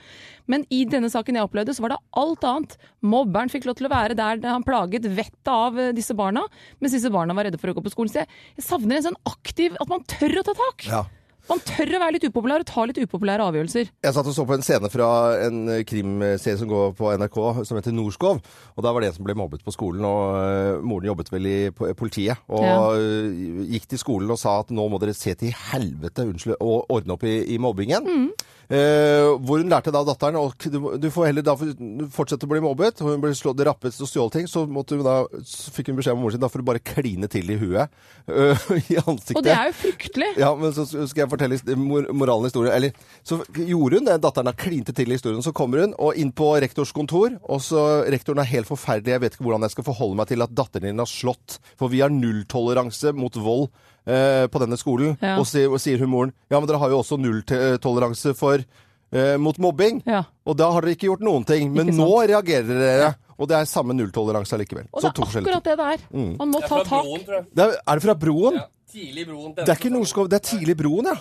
Men i denne saken jeg opplevde, så var det alt annet. Mobberen fikk lov til å være der han plaget vettet av eh, disse barna, mens disse barna var redde for å gå på skolen. Så jeg, jeg savner en sånn aktiv At man tør å ta tak. Ja. Man tør å være litt upopulær og ta litt upopulære avgjørelser. Jeg satt og så på en scene fra en eh, krimserie som går på NRK, som heter Norskov. Og der var det en som ble mobbet på skolen, og eh, moren jobbet vel i po- politiet. Og Ja. eh, gikk til skolen og sa at nå må dere se til helvete unnskyld, og ordne opp i, i mobbingen. Mm. Eh, hvor hun lærte da datteren at du, må- du får heller da for- du fortsette å bli mobbet. og Hun ble slått, rappet og stjålet ting. Så, måtte hun da, så fikk hun beskjed av moren sin da får du bare kline til i huet. eh, I ansiktet. Og det er jo fryktelig. Ja, men så skal jeg fortelle his- mor- moralen i historien. Eller, så gjorde hun det. Datteren har klinte til i historien. Så kommer hun og inn på rektors kontor, og så rektoren er helt forferdelig. Jeg vet ikke hvordan jeg skal forholde meg til at datteren din har slått. For vi har nulltoleranse mot vold eh, på denne skolen. Ja. Og, sier, og sier hun moren, ja, men dere har jo også nulltoleranse for eh, mot mobbing. Ja. Og da har dere ikke gjort noen ting. Men Ikke sant. nå reagerer dere. Og det er samme nulltoleranse allikevel. Og Så det to Mm. er forskjellige ting. akkurat det det er. Man må Det er ta fra tak. broen, tror jeg. Det er, er det fra broen? Ja, tidlig broen. Det er ikke Norskov, det er tidlig broen, ja.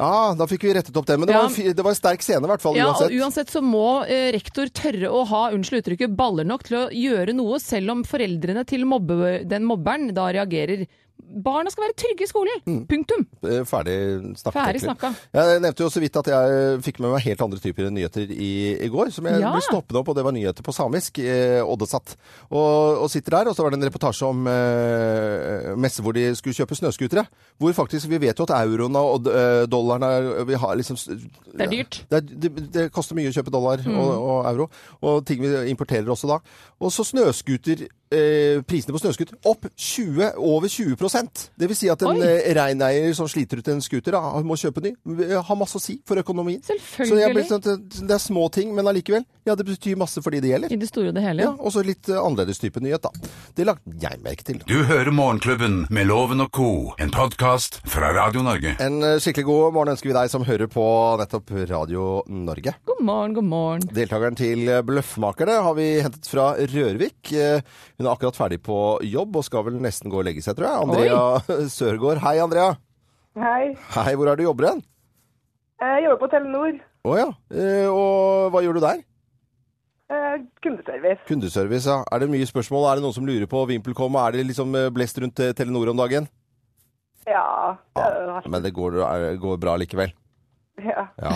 Ja, da fikk vi rettet opp det. Men det, Ja. var, en fi- det var en sterk scene, i hvert fall. Ja, uansett. og uansett så må eh, rektor tørre å ha unnskyld uttrykket, baller nok til å gjøre noe, selv om foreldrene til mobbe, den mobberen da reagerer. Barna skal være trygge i skolen. Punktum. Eh, Ferdig snakket. egentlig. Ferdig snakka. Jeg nevnte jo så vidt at jeg eh, fikk med meg helt andre typer nyheter i, i går, som jeg Ja. ble stoppet opp, og det var nyheter på samisk, eh, Oddesatt. Og, og sitter der, og så var det en reportasje om eh, messe hvor de skulle kjøpe snøskutere. Hvor faktisk, vi vet jo at euroen og eh, dollaren er, vi har liksom... Det er dyrt. Det, er- det, det koster mye å kjøpe dollar Mm. og, og euro, og ting vi importerer også da. Og så snøskuter, eh, prisene på snøskuter opp 20, over 20 Det vil si at en Oi. eh, reineier som sliter ut en skuter, da, han må kjøpe ny, eh, har masse å si for økonomien. Så jeg ble, Selvfølgelig. sånn at det er små ting, men allikevel. Ja, det betyr masse for de det gjelder. I det store og det hele. Ja, og så litt eh, annerledes type nyhet, da. Det lagde jeg merke til. da. Du hører Morgenklubben med Loven og Co. En podkast fra Radio Norge. En eh, skikkelig god morgen ønsker vi deg som hører på nettopp Radio Norge. God morgen, god morgen. Deltakeren til Bløffmakerne har vi hentet fra Rørvik. Eh, Hun er akkurat ferdig på jobb og skal vel nesten gå og legge seg, tror jeg. Andrea Sørgaard. Hei, Andrea. Hei. Eh, Hei, hvor er du jobber hen? Jeg jobber på Telenor. Å ja. Eh, Og hva gjør du der? eh, Kundeservice. Kundeservice, ja. Er det mye spørsmål? Er det noen som lurer på VimpelCom? Er det liksom eh, blest rundt eh, Telenor om dagen? Ja. det er jo hardt. Men det går, er- går bra likevel. ja. Ja.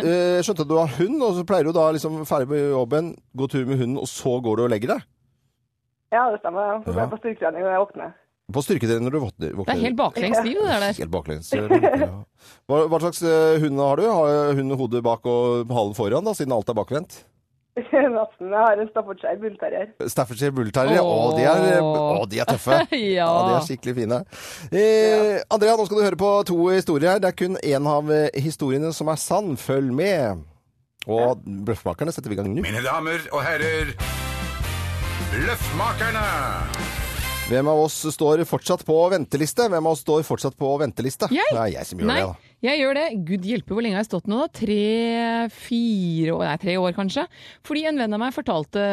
Eh, Skjønte at du har hund, og så pleier du da liksom ferdig på jobben, gå tur med hunden, og så går du og legger deg? ja, det stemmer. ja. Så går Ja. jeg på styrketrening når jeg våkner. På styrketrening når du våkner? Det er helt baklengs liv, det der. Helt baklengs. eh, Ja. Hva, hva slags eh, hund har du? Har hun hodet bak og halen foran, da, siden alt er bakvendt? Nesten. Jeg har en Staffordshire bullterrier. Staffordshire bullterrier, å, Åh. de er, eh, å, de er tøffe. Ja. de er skikkelig fine. Eh, Andrea, nå skal du høre på to historier her. Det er kun én av eh, historiene som er sann. Følg med. Og Bløffmakerne setter vi i gang nå. Mine damer og herrer, Løffmakerne! Hvem av oss står fortsatt på venteliste? Hvem av oss står fortsatt på venteliste? Jeg? Det er jeg som gjør Nei, det, da. Jeg gjør det. Gud hjelpe hvor lenge jeg har stått nå, da. Tre, fire år, nei, tre år kanskje. Fordi en venn av meg fortalte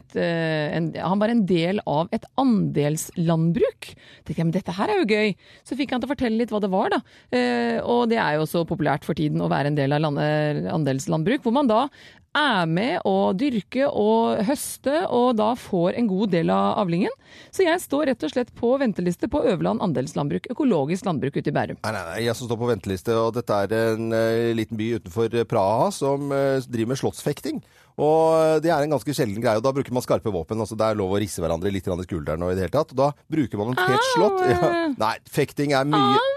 et, eh, en, Han var en del av et andelslandbruk. Tenkte jeg, men dette her er jo gøy. Så fikk han til å fortelle litt hva det var, da. Eh, og det er jo så populært for tiden å være en del av land, eh, andelslandbruk, hvor man da er med å dyrke og høste, og da får en god del av avlingen. Så jeg står rett og slett på venteliste på Øverland andelslandbruk, økologisk landbruk ute i Bærum. Nei, nei, nei, jeg som står på venteliste, og dette er en eh, liten by utenfor eh, Praha som eh, driver med slottsfekting. Og eh, det er en ganske sjelden greie, og da bruker man skarpe våpen. altså Det er lov å risse hverandre litt grann i skulderen og i det hele tatt. Og da bruker man et helt slott. Ja. Nei, fekting er mye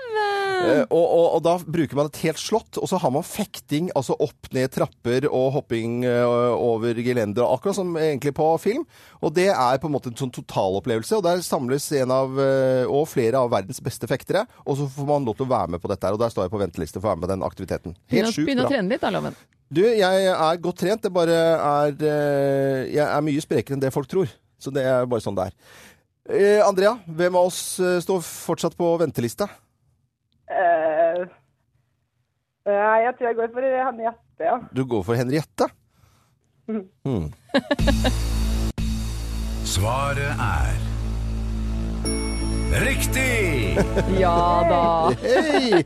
Eh, og, og, og da bruker man et helt slott, og så har man fekting, altså opp ned trapper og hopping eh, over gelendere, akkurat som egentlig på film. Og det er på en måte en sånn totalopplevelse, og der samles en av, eh, og flere av verdens beste fektere, og så får man lov til å være med på dette her, og der står jeg på venteliste for å være med på den aktiviteten. Begynne Helt å- sjukt begynne å bra. trene litt, da, Loven. Du, jeg er godt trent, det bare er, eh, jeg er mye sprekere enn det folk tror, så det er bare sånn det er. Eh, Andrea, hvem av oss eh, står fortsatt på venteliste? Eh, nei, jeg tror jeg går for Henriette, ja. Du går for Henriette. Svaret er Riktig! Ja da. Hei!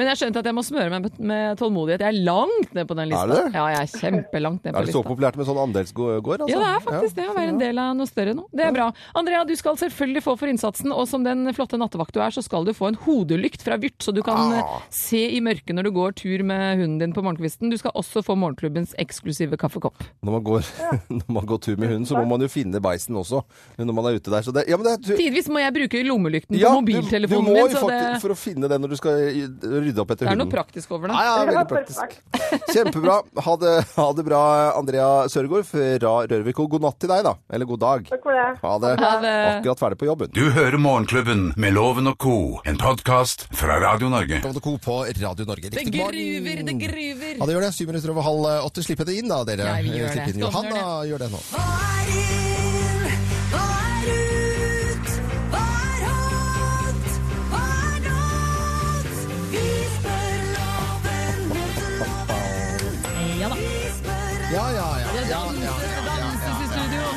Men jeg skjønte at jeg må smøre meg med- med tålmodighet. Jeg er langt ned på den lista. Er du det? Ja, jeg er kjempelangt ned på Er det så lista. populært med sånn andelsgård? Altså? Ja, det er faktisk det. Å være en del av noe større nå. Det er bra. Andrea, du skal selvfølgelig få for innsatsen, og som den flotte nattevakt du er, så skal du få en hodelykt fra Vyrt, så du Ah. kan eh, se i mørket når du går tur med hunden din på morgenkvisten. Du skal også få morgenklubbens eksklusive kaffekopp. Når, man går, når man går tur med hunden, så må man jo finne beisen også når man er ute der. Så det, ja, men det er Tidvis må jeg bruke lommelykten ja, du- på mobiltelefonen du må min, jo så det, faktisk- For å finne den når du skal i- rydde opp etter det er hunden. noe praktisk over det. Ja, ja, Det var veldig praktisk. Kjempebra. Ha det, ha det bra, Andrea Sørgaard fra Rørvik. Og god natt til deg, da. Eller god dag. Takk for det. Ha det. Ha det. Akkurat ferdig på jobben. Du hører Morgenklubben med Loven og Co., en podkast fra Radio Norge. Lovende Co. på Radio Norge. Det Riktig gruver, det morgen. gruver. Ja, det gjør det. Syv minutter over halv åtte. Slipp det inn, da, dere. Ja, vi gjør Slipp det. inn Skal vi Johanna. Gjør det nå. Hva er inn? Hva er ut? Hva er hot? Hva er not? Vi spør loven, møter loven. Ja da. Vi spør Ja, ja, ja. Det ja, ja, danses, det ja, ja, ja. danses i studio.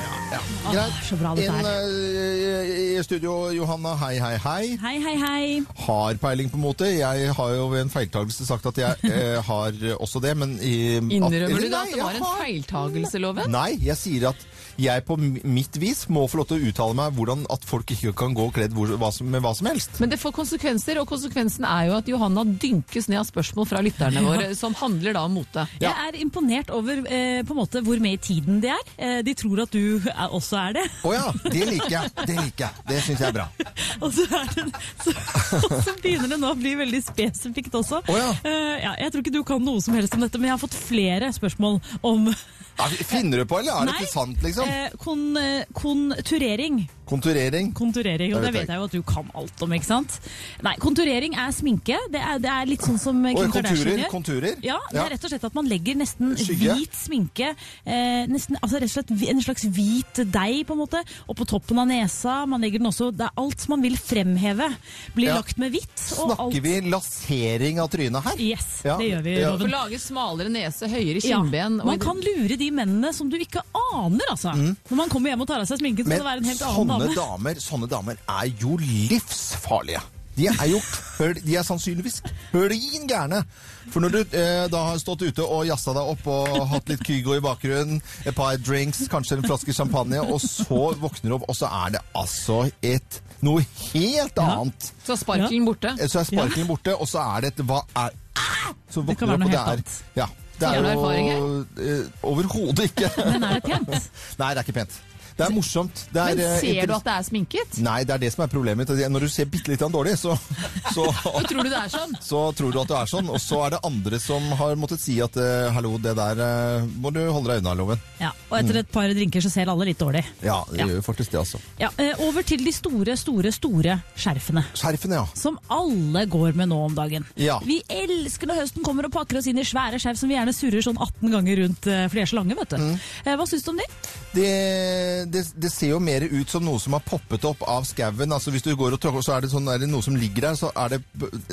Greit. så bra dette Inn er. eh, i studio, Johanna. Hei, hei, hei. Hei, hei, hei. Har peiling på mote. Jeg har jo ved en feiltagelse sagt at jeg eh, har også det, men i, Innrømmer du da Nei, at det var jeg en har- feiltagelse, Loven? Nei, jeg sier at jeg på mi- mitt vis må få lov til å uttale meg hvordan at folk ikke kan gå kledd hvor, hva som, med hva som helst. Men det får konsekvenser, og konsekvensen er jo at Johanna dynkes ned av spørsmål fra lytterne våre, som handler da om mote. Ja. Jeg er imponert over eh, på en måte hvor med i tiden de er. Eh, de tror at du er, også er det. Å ja, det liker jeg. Det liker jeg. Det syns jeg er bra. Og så, er det, så, og så begynner det nå å bli veldig spesifikt også. Å ja. Eh, ja, jeg tror ikke du kan noe som helst om dette, men jeg har fått flere spørsmål om Ja, Finner du på, eller er det ikke sant, liksom? eh, kon, eh, konturering. Konturering. Konturering, og Det det vet jeg vet jeg jo at du kan alt om, ikke sant? Nei, konturering er sminke. Det er, det er litt sånn som Kim Oi, Kardashian konturer. gjør. Konturer. Ja, det er rett og slett at man legger nesten Skygge. hvit sminke, eh, nesten, altså rett og slett hvi- en slags hvit deig på en måte, og på toppen av nesa, man legger den også, det er alt man vil fremheve, blir Ja. lagt med hvitt. og alt- Snakker vi lasering av trynet her? Yes, Ja, det gjør vi, ja. Få Loven. lage smalere nese, høyere Ja, kinnben og- man kan lure de mennene som du ikke aner, altså. Mm. Når man kommer hjem og tar av seg sminken, så skal det være en helt annen sånne dame. damer, sånne damer er jo livsfarlige. De er jo køl, de er sannsynligvis klin gærne. For når du eh, da har stått ute og jazza deg opp og hatt litt Kygo i bakgrunnen, et par drinks, kanskje en flaske champagne, og så våkner du opp, og så er det altså et noe helt annet. Så er sparkelen borte. Eh, Så er sparkelen borte, og så er det et hva er Så Ah! Det kan våkner du opp, og være noe det helt er annet. Ja. Det Har er du jo erfaring eh, overhodet ikke. Men er det pent? Nei, det er ikke pent. Det er morsomt. Det er, Men eh, ser du interess- at det er sminket? Nei, det er det som er problemet mitt. at Når du ser bitte litt dårlig, så, så, Og tror du det er sånn? så tror du at du er sånn. Og så er det andre som har måttet si at eh, hallo, det der eh, må du holde deg unna, Loven. Ja, og etter et par drinker så ser alle litt dårlig. Ja, det Ja. gjør jo faktisk det, altså. Ja, eh, over til de store, store, store skjerfene. Skjerfene, ja. Som alle går med nå om dagen. Ja. Vi elsker når høsten kommer og Mm. pakker oss inn i svære skjerf som vi gjerne surrer sånn 18 ganger rundt, eh, for de er så lange, vet du. Eh, Hva syns du om de? det, det, det ser jo mer ut som noe som har poppet opp av skauen. Altså, hvis du går og tråkker, så er det, sånn, er det noe som ligger der, så er det,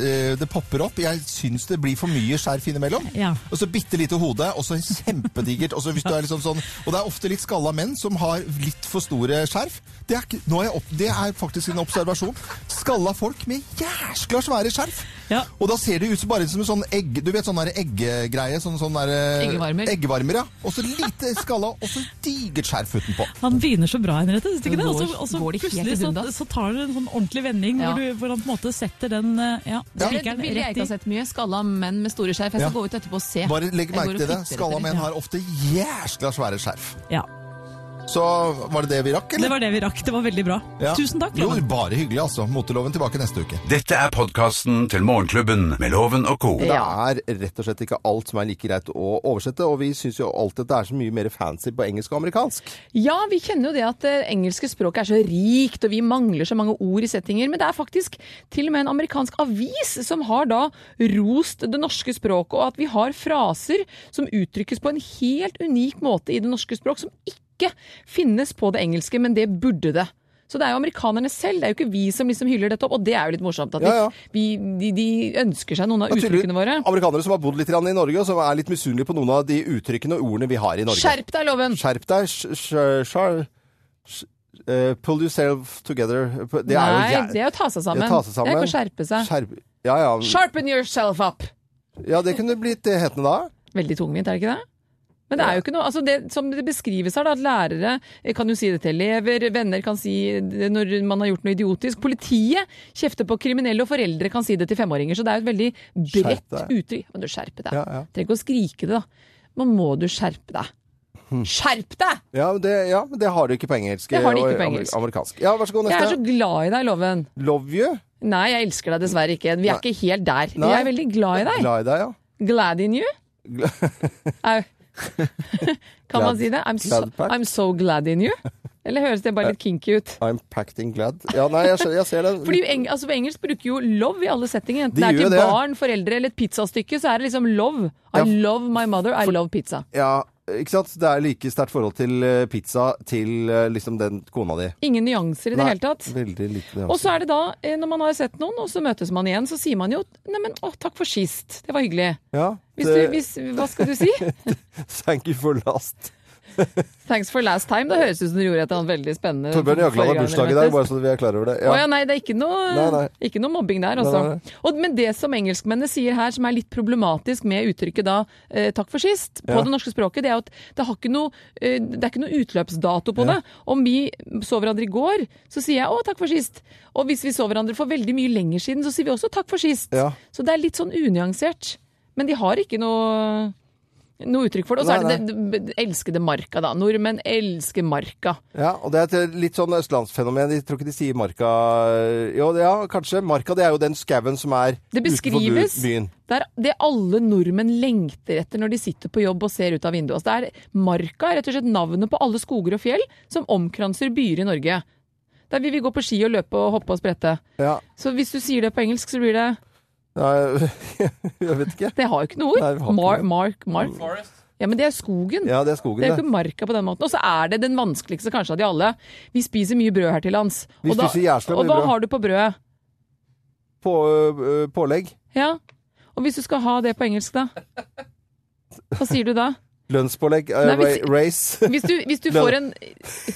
eh, det popper opp. Jeg syns det blir for mye skjerf innimellom. Ja. Og så bitte lite hode, og så kjempedigert. Og, så hvis du er liksom sånn, og det er ofte litt skalla menn som har litt for store skjerf. Det er, ikke- nå er, jeg opp, det er faktisk en observasjon. Skalla folk med jæskla svære skjerf. Ja. Og da ser det ut som bare som en sånn egg, du vet sånn der eggegreie, sånn, sånn der, eh, Eggevarmer. eggevarmer, ja. Og så lite skalla, og så digert skjerf utenpå. Han begynner så bra, Henriette. Syns du ikke Det det? Og så- går- Og så går det helt plutselig i så, dundas. så tar det en sånn ordentlig vending Ja. hvor, du, hvor han på en måte setter den eh, ja, Det spikeren ville jeg rett ikke i. ha sett mye. Skalla menn med store skjerf. Jeg skal Ja. gå ut etterpå og se. Bare legg Jeg går merke og til det. flytter Skalla etter menn litt. har ofte jæskla svære skjerf. Ja. Så var det det vi rakk, Det eller? var det vi rakk. Det var veldig bra. Ja. Tusen takk. Jo, Loven. bare hyggelig, altså. Moteloven tilbake neste uke. Dette er podkasten til Morgenklubben med Loven og co. Det er rett og slett ikke alt som er like greit å oversette, og vi syns jo alltid at det er så mye mer fancy på engelsk og amerikansk. Ja, vi kjenner jo det at det engelske språket er så rikt, og vi mangler så mange ord i settinger. Men det er faktisk til og med en amerikansk avis som har da rost det norske språket, og at vi har fraser som uttrykkes på en helt unik måte i det norske språk, som ikke finnes på det engelske, men det burde det. Så det er jo amerikanerne selv, det er jo ikke vi som liksom hyller dette opp. Og det er jo litt morsomt at de, Ja, ja. Vi, de, de ønsker seg noen av Det er tydelig uttrykkene våre. Amerikanere som har bodd litt grann i Norge, og som er litt misunnelige på noen av de uttrykkene og ordene vi har i Norge. Skjerp deg, Loven! Skjerp deg. Sh, sh, sh, sh, eh, pull yourself together. Det er jo Nei, jæ- det er jo å ta seg sammen. Ja, ta seg Det er ikke å sammen. skjerpe seg. Skjerp... Ja, ja. Sharpen yourself up! ja, det kunne blitt det hetende da. Veldig tungvint, er det ikke det? Men det er jo ikke noe, altså det som det beskrives her, da, at lærere eh, kan jo si det til elever, venner kan si det når man har gjort noe idiotisk, politiet kjefter på kriminelle, og foreldre kan si det til femåringer. Så det er jo et veldig Skjerp bredt deg. uttrykk. Men du skjerper deg. Ja, ja. Trenger ikke å skrike det, da. Men må du skjerpe deg. Hm. Skjerp deg! Ja, men det, ja, men det har du ikke på engelsk. Det har de og ikke på amer- engelsk. Amerikansk. Ja, vær så god, Jeg er neste. så glad i deg, Loven. Love you. Nei, jeg elsker deg dessverre ikke. Vi Nei. er ikke helt der. Nei. Jeg er veldig glad i deg. Glad i deg, ja. Glad in you? Au. kan man Glad- si det? I'm so, glad pack. I'm so glad in you? Eller høres det bare litt kinky ut? I'm packed in glad. Ja, nei, jeg, skjø- jeg ser det. Fordi eng altså På engelsk bruker jo love i alle settinger. Enten De det er gjør til det. barn, foreldre eller et pizzastykke, så er det liksom love. I Ja. love my mother, I love pizza. Ja, ikke sant? Det er like sterkt forhold til eh, pizza til eh, liksom den kona di. Ingen nyanser i det Nei, hele tatt. Veldig lite det. Og så er det da, eh, når man har sett noen, og så møtes man igjen, så sier man jo Neimen, å, takk for sist. Det var hyggelig. Ja, Hvis du, det- hvis, hva skal du si? Thank you for last. Thanks for last time. Det høres ut som du gjorde et eller annet veldig spennende. Torbjørn Jagland forrige har gang bursdag i dere dag, møttes. bare så vi er klar over det. Å Ja. ja, nei, det er ikke noe, Nei, nei. Ikke noe mobbing der, altså. Nei, nei, Og, men det som engelskmennene sier her, som er litt problematisk med uttrykket da eh, 'takk for sist' på Ja. det norske språket, det er jo at det, har ikke noe, eh, det er ikke noe utløpsdato på Ja. det. Om vi så hverandre i går, så sier jeg 'å, takk for sist'. Og hvis vi så hverandre for veldig mye lenger siden, så sier vi også 'takk for sist'. Ja. Så det er litt sånn unyansert. Men de har ikke noe noe uttrykk for det. Og så Nei, er det den elskede marka, da. Nordmenn elsker marka. Ja, og det er et litt sånn østlandsfenomen. Jeg tror ikke de sier marka eh, Jo, det- ja, kanskje. Marka, det er jo den skauen som er Det beskrives. utenfor bu- byen. Det er det alle nordmenn lengter etter når de sitter på jobb og ser ut av vinduet. Altså, det er Marka er rett og slett navnet på alle skoger og fjell som omkranser byer i Norge. Der vil vi gå på ski og løpe og hoppe og sprette. Ja. Så hvis du sier det på engelsk, så blir det Nei, jeg vet ikke. Det har jo ikke noe ord. Nei, vi har ikke Mar, det. mark, mark. Forest. Ja, men det er skogen. Ja, det er Det skogen, er jo det. ikke marka på den måten. Og så er det den vanskeligste kanskje av de alle. Vi spiser mye brød her til lands. Vi og da- spiser jævla mye Og hva brød. har du på brødet? På, ø, pålegg. Ja. Og hvis du skal ha det på engelsk, da? Hva sier du da? Lønnspålegg. ø, Nei, vi- ra- race. Hvis du, hvis du får en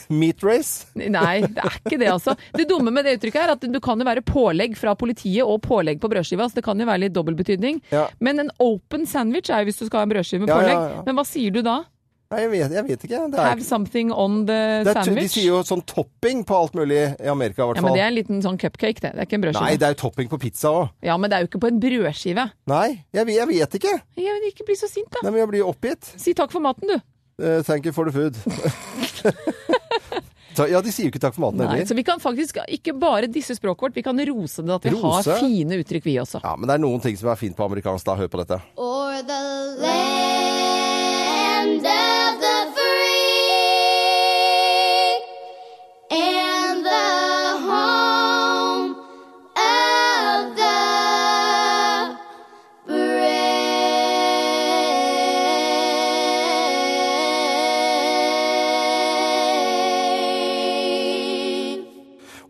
Meat race. Nei, det er ikke det, altså. Det dumme med det uttrykket er at det kan jo være pålegg fra politiet og pålegg på brødskiva, så det kan jo være litt dobbeltbetydning. Ja. Men en open sandwich er jo hvis du skal ha en brødskive med Ja, ja, pålegg. ja. Men hva sier du da? Nei, jeg vet, jeg vet ikke. Det er Have something on the Det er, t- de sandwich? sier jo sånn topping på alt mulig i Amerika, i hvert ja, men fall. det er sånn. en liten sånn cupcake, det. Det er ikke en brødskive. Nei, det er jo topping på pizza òg. Ja, men det er jo ikke på en brødskive. Nei, jeg, jeg vet ikke. Ja, men ikke bli så sint, da. Nei, men jeg blir jo oppgitt. Si takk for maten, du. Eh, thank you for the food. Ta- ja, de sier jo ikke takk for maten Nei, heller. så vi kan faktisk ikke bare disse språket vårt, vi kan rose det at vi Rose? har fine uttrykk, vi også. Ja, men det er noen ting som er fint på amerikansk, da. Hør på dette. O'er the land of the free and the home of the brave.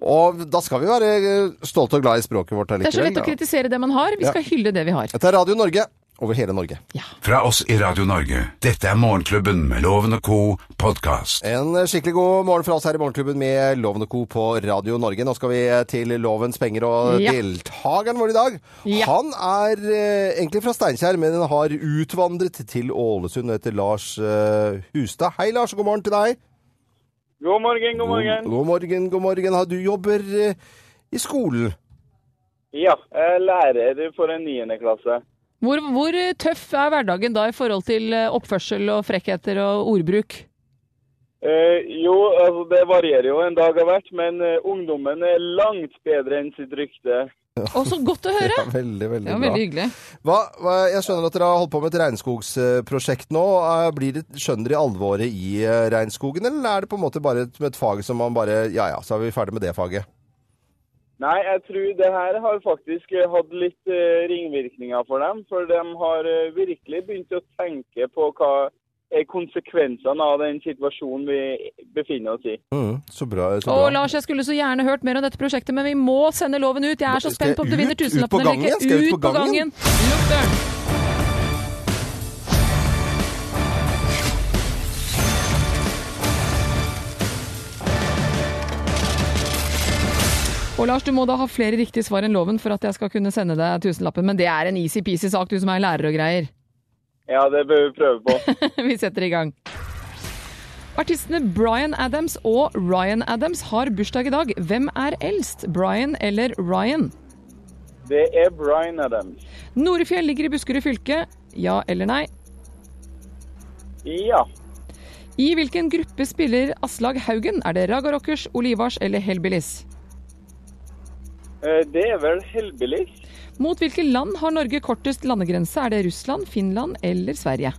Og da skal vi være eh, stolte og glad i språket vårt Det er så allikevel. lett å da. kritisere det man har, vi skal hylle det vi har. Dette er Radio Norge over hele Norge. Fra oss i Radio Norge. Dette er Morgenklubben med Loven og co. podkast. En eh, skikkelig god morgen fra oss her i Morgenklubben med Loven og Co. på Radio Norge. Nå skal vi eh, til Lovens penger og Ja. deltakeren vår i dag. Ja. Han er eh, egentlig fra Steinkjer, men har utvandret til Ålesund og heter Lars eh, Hustad. Hei, Lars. God morgen til deg. God morgen, god morgen. God morgen, god morgen. Ha- Du jobber eh, i skolen. Ja, eh, jeg er lærer for en niende klasse. Hvor, hvor tøff er hverdagen da i forhold til eh, oppførsel og frekkheter og ordbruk? Eh, jo, altså det varierer jo en dag av hvert, men eh, ungdommen er langt bedre enn sitt rykte. Å, så godt å høre! Ja, veldig, veldig Det var bra. veldig hyggelig. Hva, hva, jeg skjønner at dere har holdt på med et regnskogsprosjekt nå. Eh, Blir det, skjønner dere alvoret i eh, regnskogen, eller er det på en måte bare et, et fag som man bare Ja ja, så er vi ferdig med det faget. Nei, jeg tror det her har faktisk eh, hatt litt eh, ringvirkninger for dem, for de har eh, virkelig begynt å tenke på hva er konsekvensene av den situasjonen vi befinner oss i. Mm, så bra. Så Å, bra. Lars, jeg skulle så gjerne hørt mer om dette prosjektet, men vi må sende loven ut. Jeg er så Skal jeg spent på om du ut- vinner ut på tusenlappen eller gangen? ikke. Skal jeg ut på gangen? Lukk døren! Og Lars, du må da ha flere riktige svar enn loven for at jeg skal kunne sende deg tusenlappen, men det er en easy-peasy sak, du som er lærer og greier. Ja, det bør vi prøve på. Vi setter i gang. Artistene Bryan Adams og Ryan Adams har bursdag i dag. Hvem er eldst, Bryan eller Ryan? Det er Bryan Adams. Norefjell ligger i Buskerud fylke. Ja eller nei? Ja, I hvilken gruppe spiller Aslag Haugen? Er det Raga Rockers, Olivars eller Hellbillies? eh, det er vel heldigvis. Mot hvilke land har Norge kortest landegrense? Er det Russland, Finland eller Sverige?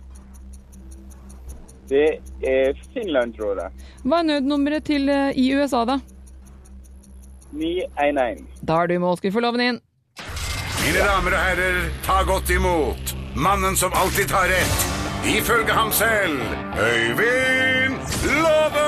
Det er Finland, tror jeg. Hva er nødnummeret til eh, i USA, da? 911. Da er du i mål, skal vi få loven inn. Mine damer og herrer, ta godt imot mannen som alltid tar rett. Ifølge ham selv Øyvind Låve!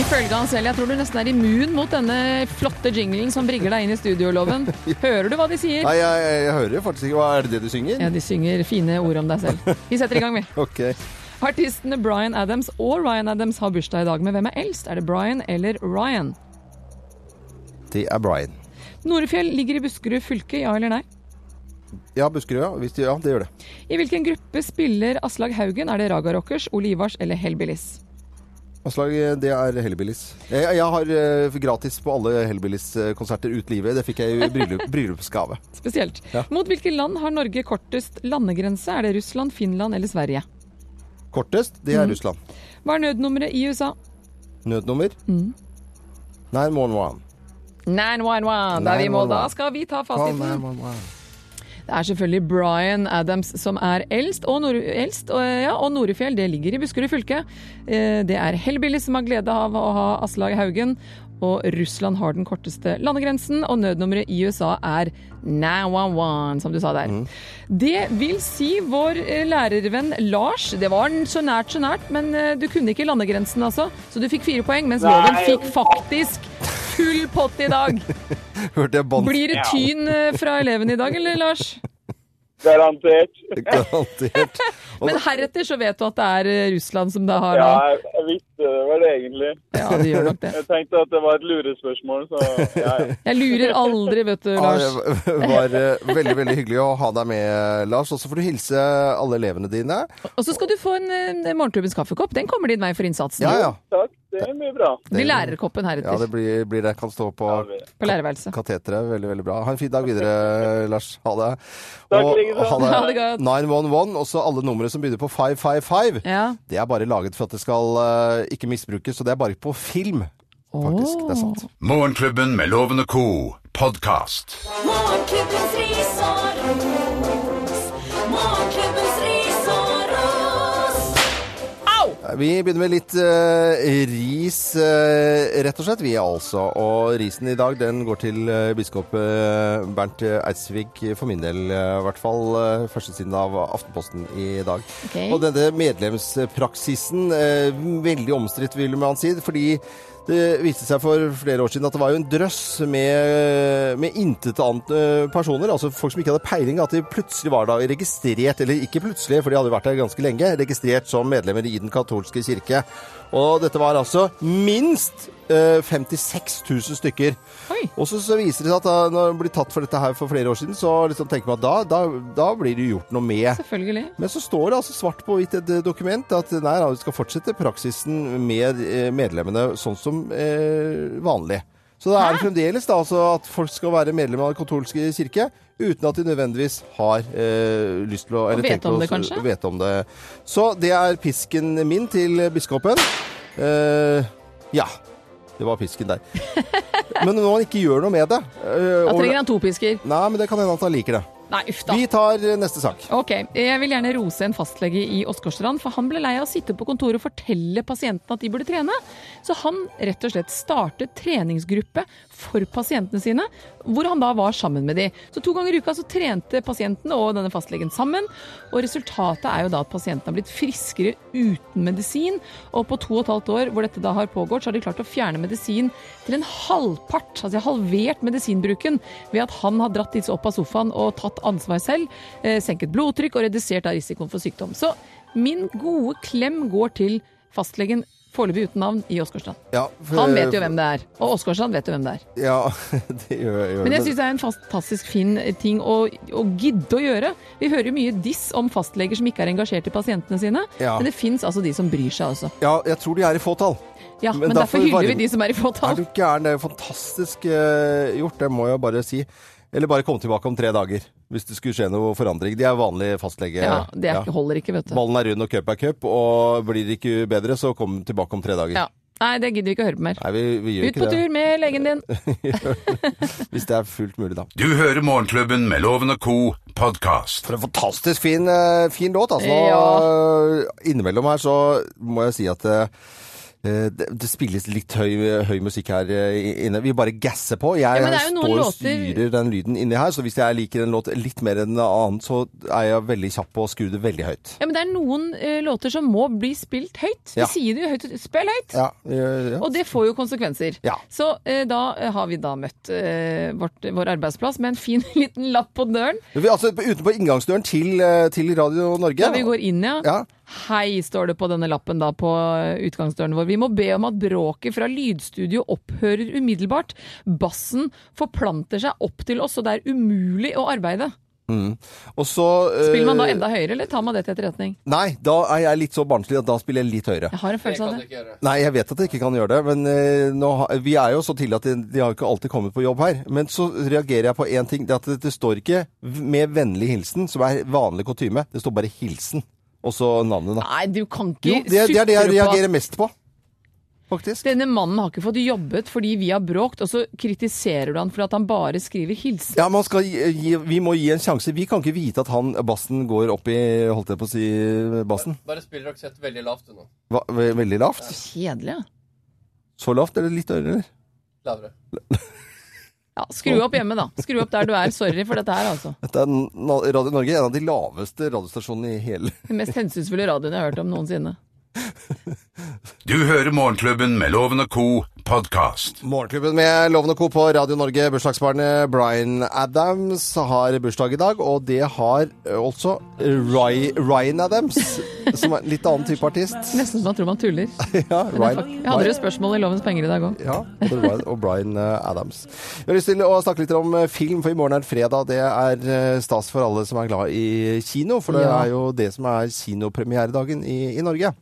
Ifølge han selv, jeg tror du nesten er immun mot denne flotte jingling som brygger deg inn i studioloven. Hører du hva de sier? Nei, jeg, jeg, jeg hører jo faktisk ikke. Hva er det det du synger? Ja, de synger fine ord om deg selv. Vi setter i gang, vi. Ok. Artistene Bryan Adams og Ryan Adams har bursdag i dag, men hvem er eldst? Er det Bryan eller Ryan? Det er Brian. Norefjell ligger i Buskerud fylke, ja eller nei? Ja, Buskerud, ja. Hvis de, ja, det gjør det. I hvilken gruppe spiller Aslag Haugen? Er det Raga Rockers, Olivars eller Hellbillies? Aslag, eh, det er Hellbillies. Jeg, jeg har eh, gratis på alle Hellbillies-konserter ut livet. Det fikk jeg i bryllup, bryllupsgave. Spesielt. Ja. Mot hvilke land har Norge kortest landegrense? Er det Russland, Finland eller Sverige? Kortest, det Mm. er Russland. Hva er nødnummeret i USA? Nødnummer? Mm. Nei, morgen var han. 911. Da er vi i mål, da 911. skal vi ta Å, fasiten. nei, morgen var han. Det er selvfølgelig Bryan Adams som er eldst, og, Nor eldst, og, ja, og Norefjell det ligger i Buskerud fylke. Eh, Det er Hellbillies som har glede av å ha Aslag Haugen, og Russland har den korteste landegrensen, og nødnummeret i USA er 911, som du sa der. Det vil si vår eh, lærervenn Lars, det var den så nært, så nært, men eh, du kunne ikke landegrensen altså, så du fikk fire poeng, mens loven Nei. fikk faktisk full pott i dag. Hørte jeg bånd Blir det tyn eh, fra eleven i dag, eller Lars? Garantert. garantert. Men heretter så vet du at det er eh, Russland som det har Ja, nå. jeg, jeg visste det var det egentlig. Ja, det gjør nok det. Jeg tenkte at det var et lurespørsmål, så ja, ja. Jeg lurer aldri, vet du, Ja, Lars. Det var eh, veldig veldig hyggelig å ha deg med, Lars. Og så får du hilse alle elevene dine. Og så skal du få en, eh, morgenklubbens kaffekopp. Den kommer din vei for innsatsen. Ja, ja. Takk, det er mye bra. Det blir lærerkoppen heretter. ja det blir, blir det. Kan stå på På lærerværelset. kateteret. Veldig, veldig bra. Ha en fin dag videre, Lars. Ha det. Takk, like så. Ha det godt. 911, og så alle numre som begynner på 555. Ja. Det er bare laget for at det skal eh, ikke misbrukes, så det er bare på film, faktisk. Det er sant. Morgenklubben med Loven og co. podkast. Morgenklubbens ris og ros. Morgenklubbens ris og ros. Vi begynner med litt eh, ris, eh, rett og slett. Vi er altså, og risen i dag den går til eh, biskop eh, Bernt Eidsvik, for min del eh, i hvert fall, eh, førstesiden av Aftenposten i dag. Ok. Og denne medlemspraksisen, eh, veldig omstridt vil man si, fordi Det viste seg for flere år siden at det var jo en drøss med, med intetanende personer, altså folk som ikke hadde peiling, at de plutselig var da registrert, eller ikke plutselig, for de hadde jo vært der ganske lenge, registrert som medlemmer i den katolske kirke. Og dette var altså minst eh, 56 000 stykker. Oi. Og så, så viser det seg at da, når man blir tatt for dette her for flere år siden, så liksom tenker man at da, da, da blir det jo gjort noe med. Selvfølgelig. Men så står det altså svart på hvitt i et dokument at eh, nei, da, vi skal fortsette praksisen med eh, medlemmene sånn som eh, vanlig. Så da er det fremdeles da, altså at folk skal være medlem av den katolske kirke uten at de nødvendigvis har eh, lyst til å eller vet tenkt om å- det, kanskje? Vet om det. Så det er pisken min til biskopen. Eh, ja. Det var pisken der. Men når han ikke gjør noe med det eh, Da og- trenger han to pisker. Nei, men det kan hende at han liker det. Nei, uff da. Vi tar eh, neste sak. Ok, Jeg vil gjerne rose en fastlege i Åsgårdstrand, for han ble lei av å sitte på kontoret og fortelle pasientene at de burde trene. Så han rett og slett startet treningsgruppe for pasientene sine, hvor han da var sammen med de. Så to ganger i uka så trente pasientene og denne fastlegen sammen, og resultatet er jo da at pasientene har blitt friskere uten medisin, og på to og et halvt år hvor dette da har pågått, så har de klart å fjerne medisin til en halvpart, altså de har halvert medisinbruken ved at han har dratt disse opp av sofaen og tatt ansvar selv, eh, senket blodtrykk og redusert da risikoen for sykdom. Så min gode klem går til fastlegen foreløpig uten navn i Åsgårdstrand. Ja, for- Han vet jo hvem det er, og Åsgårdstrand vet jo hvem det er. Ja, det gjør, gjør Men jeg det. syns det er en fantastisk fin eh, ting å, å gidde å gjøre. Vi hører jo mye diss om fastleger som ikke er engasjert i pasientene sine, Ja. men det fins altså de som bryr seg også. Ja, jeg tror de er i fåtall. Ja, Men men, derfor derfor hyller varm- vi de som er i Er du fåtall. gæren? Det er jo fantastisk eh, gjort, det må jeg bare si. Eller bare komme tilbake om tre dager, hvis det skulle skje noe forandring. De er vanlige fastlege. Ja, det er, Ja. holder ikke, vet du. Ballen er rund og cup er cup, og blir det ikke bedre, så kom tilbake om tre dager. Ja. Nei, det gidder vi ikke å høre på mer. Nei, vi, vi gjør Ut på ikke det. tur med legen din. Hvis det er fullt mulig, da. Du hører Morgenklubben med Loven og Co. podkast. For en fantastisk fin, eh, fin låt. Altså, Nå, eh, Innimellom her så må jeg si at eh, det, det spilles litt høy, høy musikk her eh, inne. Vi bare gasser på. Jeg Ja, men det er jo noen står og låter- styrer den lyden inni her, så hvis jeg liker en låt litt mer enn en annen, så er jeg veldig kjapp på å skru det veldig høyt. Ja, men det er noen eh, låter som må bli spilt høyt. Vi Ja. sier det jo høyt. Spill høyt! Ja, eh, ja. Og det får jo konsekvenser. Ja. Så eh, da eh, har vi da møtt eh, vårt, vår arbeidsplass med en fin liten lapp på døren. Vi, altså, utenpå inngangsdøren til, eh, til Radio Norge. Da vi går inn, ja. Ja. Hei, står det på denne lappen da på utgangsdøren vår. Vi må be om at bråket fra lydstudio opphører umiddelbart. Bassen forplanter seg opp til oss, og det er umulig å arbeide. Og så eh, Spiller man da enda høyere, eller tar man det til etterretning? Nei, da er jeg litt så barnslig at da spiller jeg litt høyere. Jeg har en Det følelse kan av du det. sånn, ikke gjøre. Nei, jeg vet at jeg ikke kan gjøre det, men eh, nå, ha- vi er jo så tidlig at de, de har jo ikke alltid kommet på jobb her. Men så reagerer jeg på én ting. Det er at det, det står ikke v- 'med vennlig hilsen', som er vanlig kutyme. Det står bare 'hilsen', og så navnet, da. Nei, du kan Jo, ikke det, er- det er det jeg sutre på reagerer at mest på, faktisk. denne mannen har ikke fått jobbet fordi vi har bråkt, og så kritiserer du han for at han bare skriver hilsen. Ja, man skal gi, gi, Vi må gi en sjanse. Vi kan ikke vite at han bassen går opp i Holdt jeg på å si bassen? Bare spill rockset veldig lavt du nå. Hva, ve- veldig lavt? Kjedelig, ja. Så lavt, eller litt høyere? Lavere. ja. Skru opp hjemme, da. Skru opp der du er. Sorry for dette her, altså. Dette er n- Radio Norge, en av de laveste radiostasjonene i hele Den mest hensynsfulle radioen jeg har hørt om noensinne. Du hører Morgenklubben med Loven og Co. podkast. Morgenklubben med Lovende Co. på Radio Norge. Bursdagsbarnet Bryan Adams har bursdag i dag, og det har eh, også Ry Ryan Adams, som er en litt annen type artist. Nesten så man tror man tuller. Ja, Ryan. Jeg hadde jo spørsmål i Lovens penger i dag òg. Ja, både Ryan og Bryan eh, Adams. Vi har lyst til å snakke litt om eh, film, for i morgen er det fredag. Det er eh, stas for alle som er glad i kino, for det Ja. er jo det som er kinopremieredagen i, i Norge.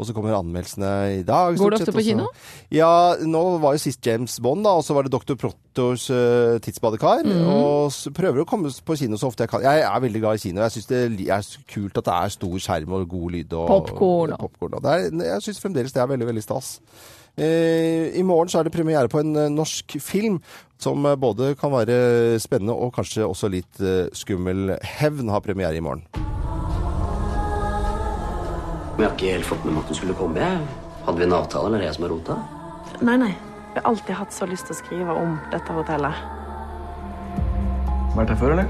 Og så kommer anmeldelsene i dag. Går du stort sett, ofte på og så- kino? Ja, nå var jo sist James Bond, da, og så var det Dr. Prottors eh, tidsbadekar. Mhm. Og s- prøver å komme s- på kino så ofte jeg kan. Jeg er veldig glad i kino. Jeg syns det li- er s- kult at det er stor skjerm og god lyd. Og, Popcorn og- popcorn, og det er, jeg syns fremdeles det er veldig, veldig stas. Eh, I morgen så er det premiere på en eh, norsk film som eh, både kan være spennende og kanskje også litt eh, skummel. 'Hevn' har premiere i morgen. Men jeg har ikke helt fått med meg at du skulle komme. jeg. Hadde vi en avtale, eller er det jeg som har rota? Nei, nei. Jeg har alltid hatt så lyst til å skrive om dette hotellet. Vært her før, eller?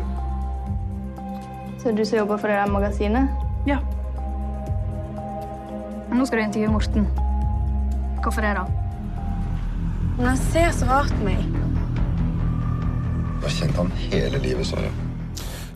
Så du som jobber for det der magasinet? Ja. Nå skal du intervjue Morten. Hvorfor det, da? Men han ser så rart på meg. Jeg har kjent han hele livet, Sara.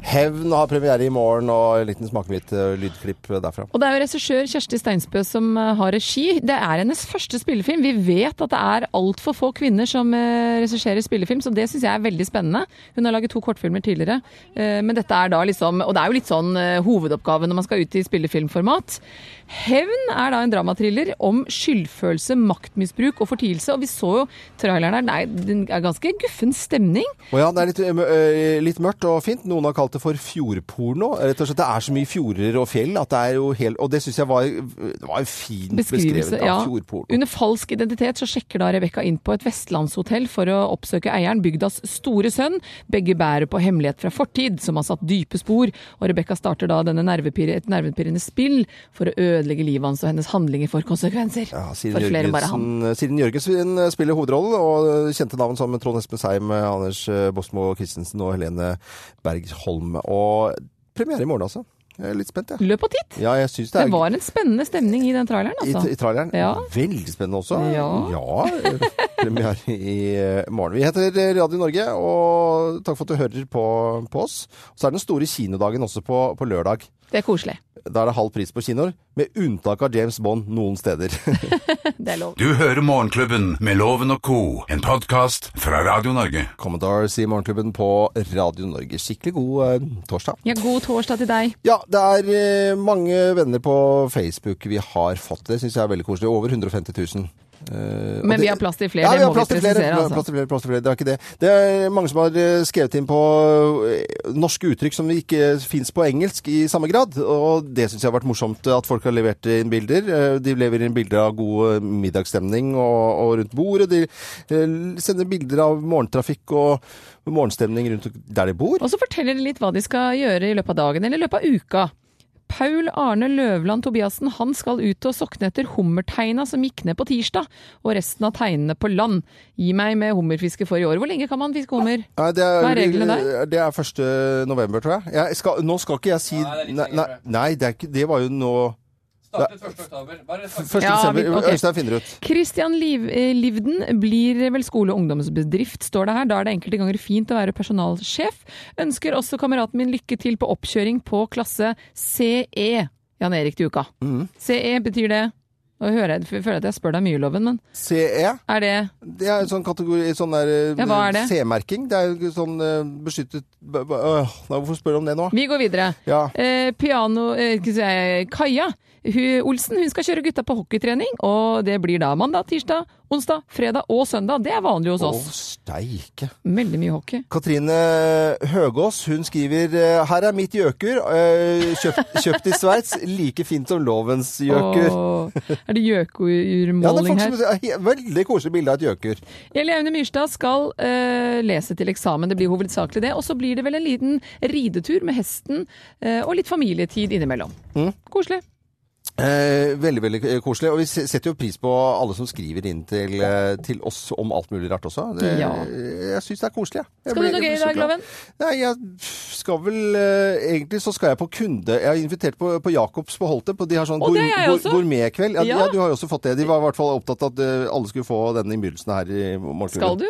Hevn har premiere i morgen, og en liten smakebit eh, lydklipp derfra. Og det er jo regissør Kjersti Steinsbø som eh, har regi. Det er hennes første spillefilm. Vi vet at det er altfor få kvinner som eh, regisserer spillefilm, så det syns jeg er veldig spennende. Hun har laget to kortfilmer tidligere, eh, men dette er da liksom Og det er jo litt sånn eh, hovedoppgave når man skal ut i spillefilmformat. Hevn er da en dramatriller om skyldfølelse, maktmisbruk og fortielse. Og vi så jo traileren her, det er, det er ganske guffen stemning. Og ja, det er litt, eh, mø- eh, litt mørkt og fint. Noen har kalt det for fjordporno. Rett og slett, det er så mye fjorder og fjell at det er jo helt Og det syns jeg var, det var en fin beskrivelse av fjordporno. Under falsk identitet så sjekker da Rebekka inn på et vestlandshotell for å oppsøke eieren, bygdas store sønn. Begge bærer på hemmelighet fra fortid som har satt dype spor, og Rebekka starter da denne nervepirre, et nervepirrende spill for å ødelegge livet hans og hennes handlinger får konsekvenser. for flere enn bare han. Jørgensen, Siden Jørgensen spiller hovedrollen, og kjente navn som Trond Espen Seim, Anders Bosmo Christensen og Helene Bergholm. Og premiere i morgen, altså. Jeg er litt spent, jeg. Løp og titt! Ja, jeg syns det Mm. Det er var en spennende stemning i den traileren, i, altså. i traileren. Ja. Veldig spennende også. Ja. ja premiere i eh, morgen. Vi heter Radio Norge, og takk for at du hører på, på oss. Så er den store kinodagen også på, på lørdag. Det er koselig. Da er det halv pris på kinoer, med unntak av James Bond noen steder. Det er lov. Du hører Morgenklubben med Loven og co., en podkast fra Radio Norge. Commodore sier Morgenklubben på Radio Norge. Skikkelig god eh, torsdag. Ja, god torsdag til deg. Ja, det er eh, mange venner på Facebook vi har fått. Det syns jeg er veldig koselig. Over 150 000. Eh, og Men vi det- har plass til flere, ja, det vi har må plass vi til flere. presisere, Vi har altså. Plass til flere, plass til flere, det er ikke det. Det er mange som har eh, skrevet inn på eh, norske uttrykk som ikke fins på engelsk i samme grad, og det syns jeg har vært morsomt eh, at folk har levert inn bilder. Eh, De lever inn bilder av god eh, middagsstemning og, og rundt bordet. De eh, sender bilder av morgentrafikk og morgenstemning rundt der de bor. Og så forteller de litt hva de skal gjøre i løpet av dagen eller i løpet av uka. Paul Arne Løvland Tobiassen han skal ut og sokne etter hummerteina som gikk ned på tirsdag, og resten av teinene på land. Gi meg med hummerfiske for i år. Hvor lenge kan man fiske hummer? Nei, det er, eh, Hva er reglene der? Det er 1. november, tror jeg. jeg skal, nå skal ikke jeg si Nei, nei, nei det, er ikke, det var jo nå Startet 1. oktober. Bare snakk. 1. Ja, desember. vi- ok. Øystein finner ut. Christian Liv, eh, Livden blir vel skole- og ungdomsbedrift, står det her. Da er det enkelte ganger fint å være personalsjef. Ønsker også kameraten min lykke til på oppkjøring på klasse CE, Jan Erik til uka. CE betyr det Nå hører jeg, jeg føler at jeg spør deg mye, Loven, men CE? Er det E, Det er en sånn kategori sånn der eh, Ja, hva er det? C-merking. Det er jo sånn eh, beskyttet b- b- øh, nei, Hvorfor spør du om det nå? Vi går videre. Ja. Eh, piano eh, ikke si- eh, Kaja hun, Olsen hun skal kjøre gutta på hockeytrening, og det blir da mandag, tirsdag, onsdag, fredag og søndag. Det er vanlig hos Å, oss. steike. Veldig mye hockey. Katrine Høgås hun skriver eh, Her er mitt gjøkur, eh, kjøpt, kjøpt i Sveits. Like fint som lovens gjøkur. Åh, er Ja, det det er gjøkurmåling folk her? som, he- veldig koselig bilde av et gjøkur. Eli Aune Myrstad skal eh, lese til eksamen, det blir hovedsakelig det. Og så blir det vel en liten ridetur med hesten eh, og litt familietid innimellom. Mm. Koselig. Eh, veldig veldig eh, koselig. Og vi se- setter jo pris på alle som skriver inn til, eh, til oss om alt mulig rart også. Det, Ja. eh, Jeg syns det er koselig. jeg. Jeg Skal du blir- noe jeg blir gøy i så dag, glad. Loven? Nei, jeg skal vel eh, Egentlig så skal jeg på kunde... Jeg er invitert på, på Jacobs på Holte. På, de har sånn Å, det er jeg gour- også. gourmetkveld. Ja, Ja. ja. du har jo også fått det. De var i hvert fall opptatt av at eh, alle skulle få denne innbydelsen her i morgen. Skal du?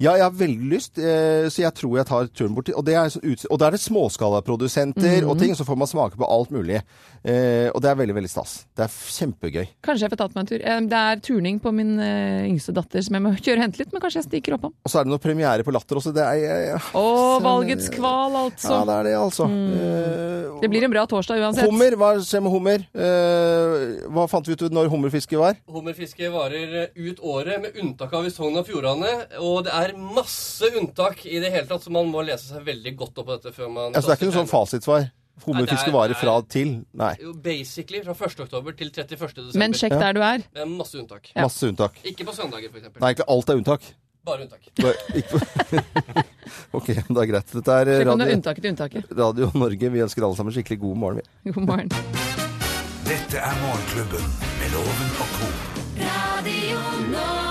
Ja, jeg har veldig lyst, eh, så jeg tror jeg tar turen bort til Og, det er så ut- og da er det småskalaprodusenter og Mhm. ting, så får man smake på alt mulig. Eh, og det er veldig, veldig stas. Det er f- kjempegøy. Kanskje jeg får tatt meg en tur. Eh, Det er turning på min eh, yngste datter som jeg må kjøre og hente litt, men kanskje jeg stikker opp om. Og så er det noe premiere på Latter også. Det er eh, Å, valgets kval, altså. Ja, det er det, altså. Det blir en bra torsdag Eh, uansett. hummer, hva skjer med hummer? Eh, hva fant vi ut når hummerfiske var? Hummerfiske varer eh, ut året, med unntak av i Sogn og Fjordane. Og det er masse unntak i det hele tatt, så man må lese seg veldig godt opp på dette før man Altså, det er ikke noe sånn fasitsvar. Hummerfiske Nei, varer det er- fra til. Nei. Jo, basically fra 1. oktober til 31. desember. Men sjekk der du er. Det er masse unntak. Masse unntak. Ikke på søndager, for eksempel. Nei, egentlig alt er unntak. Bare unntak. Bare- ikke- ok, det er greit. Dette er eh, Sjekk om det er radio, unntaket til unntaket. radio Norge. Vi ønsker alle sammen skikkelig god morgen. vi. God morgen. Dette er Morgenklubben med Loven og co. Radio Norge.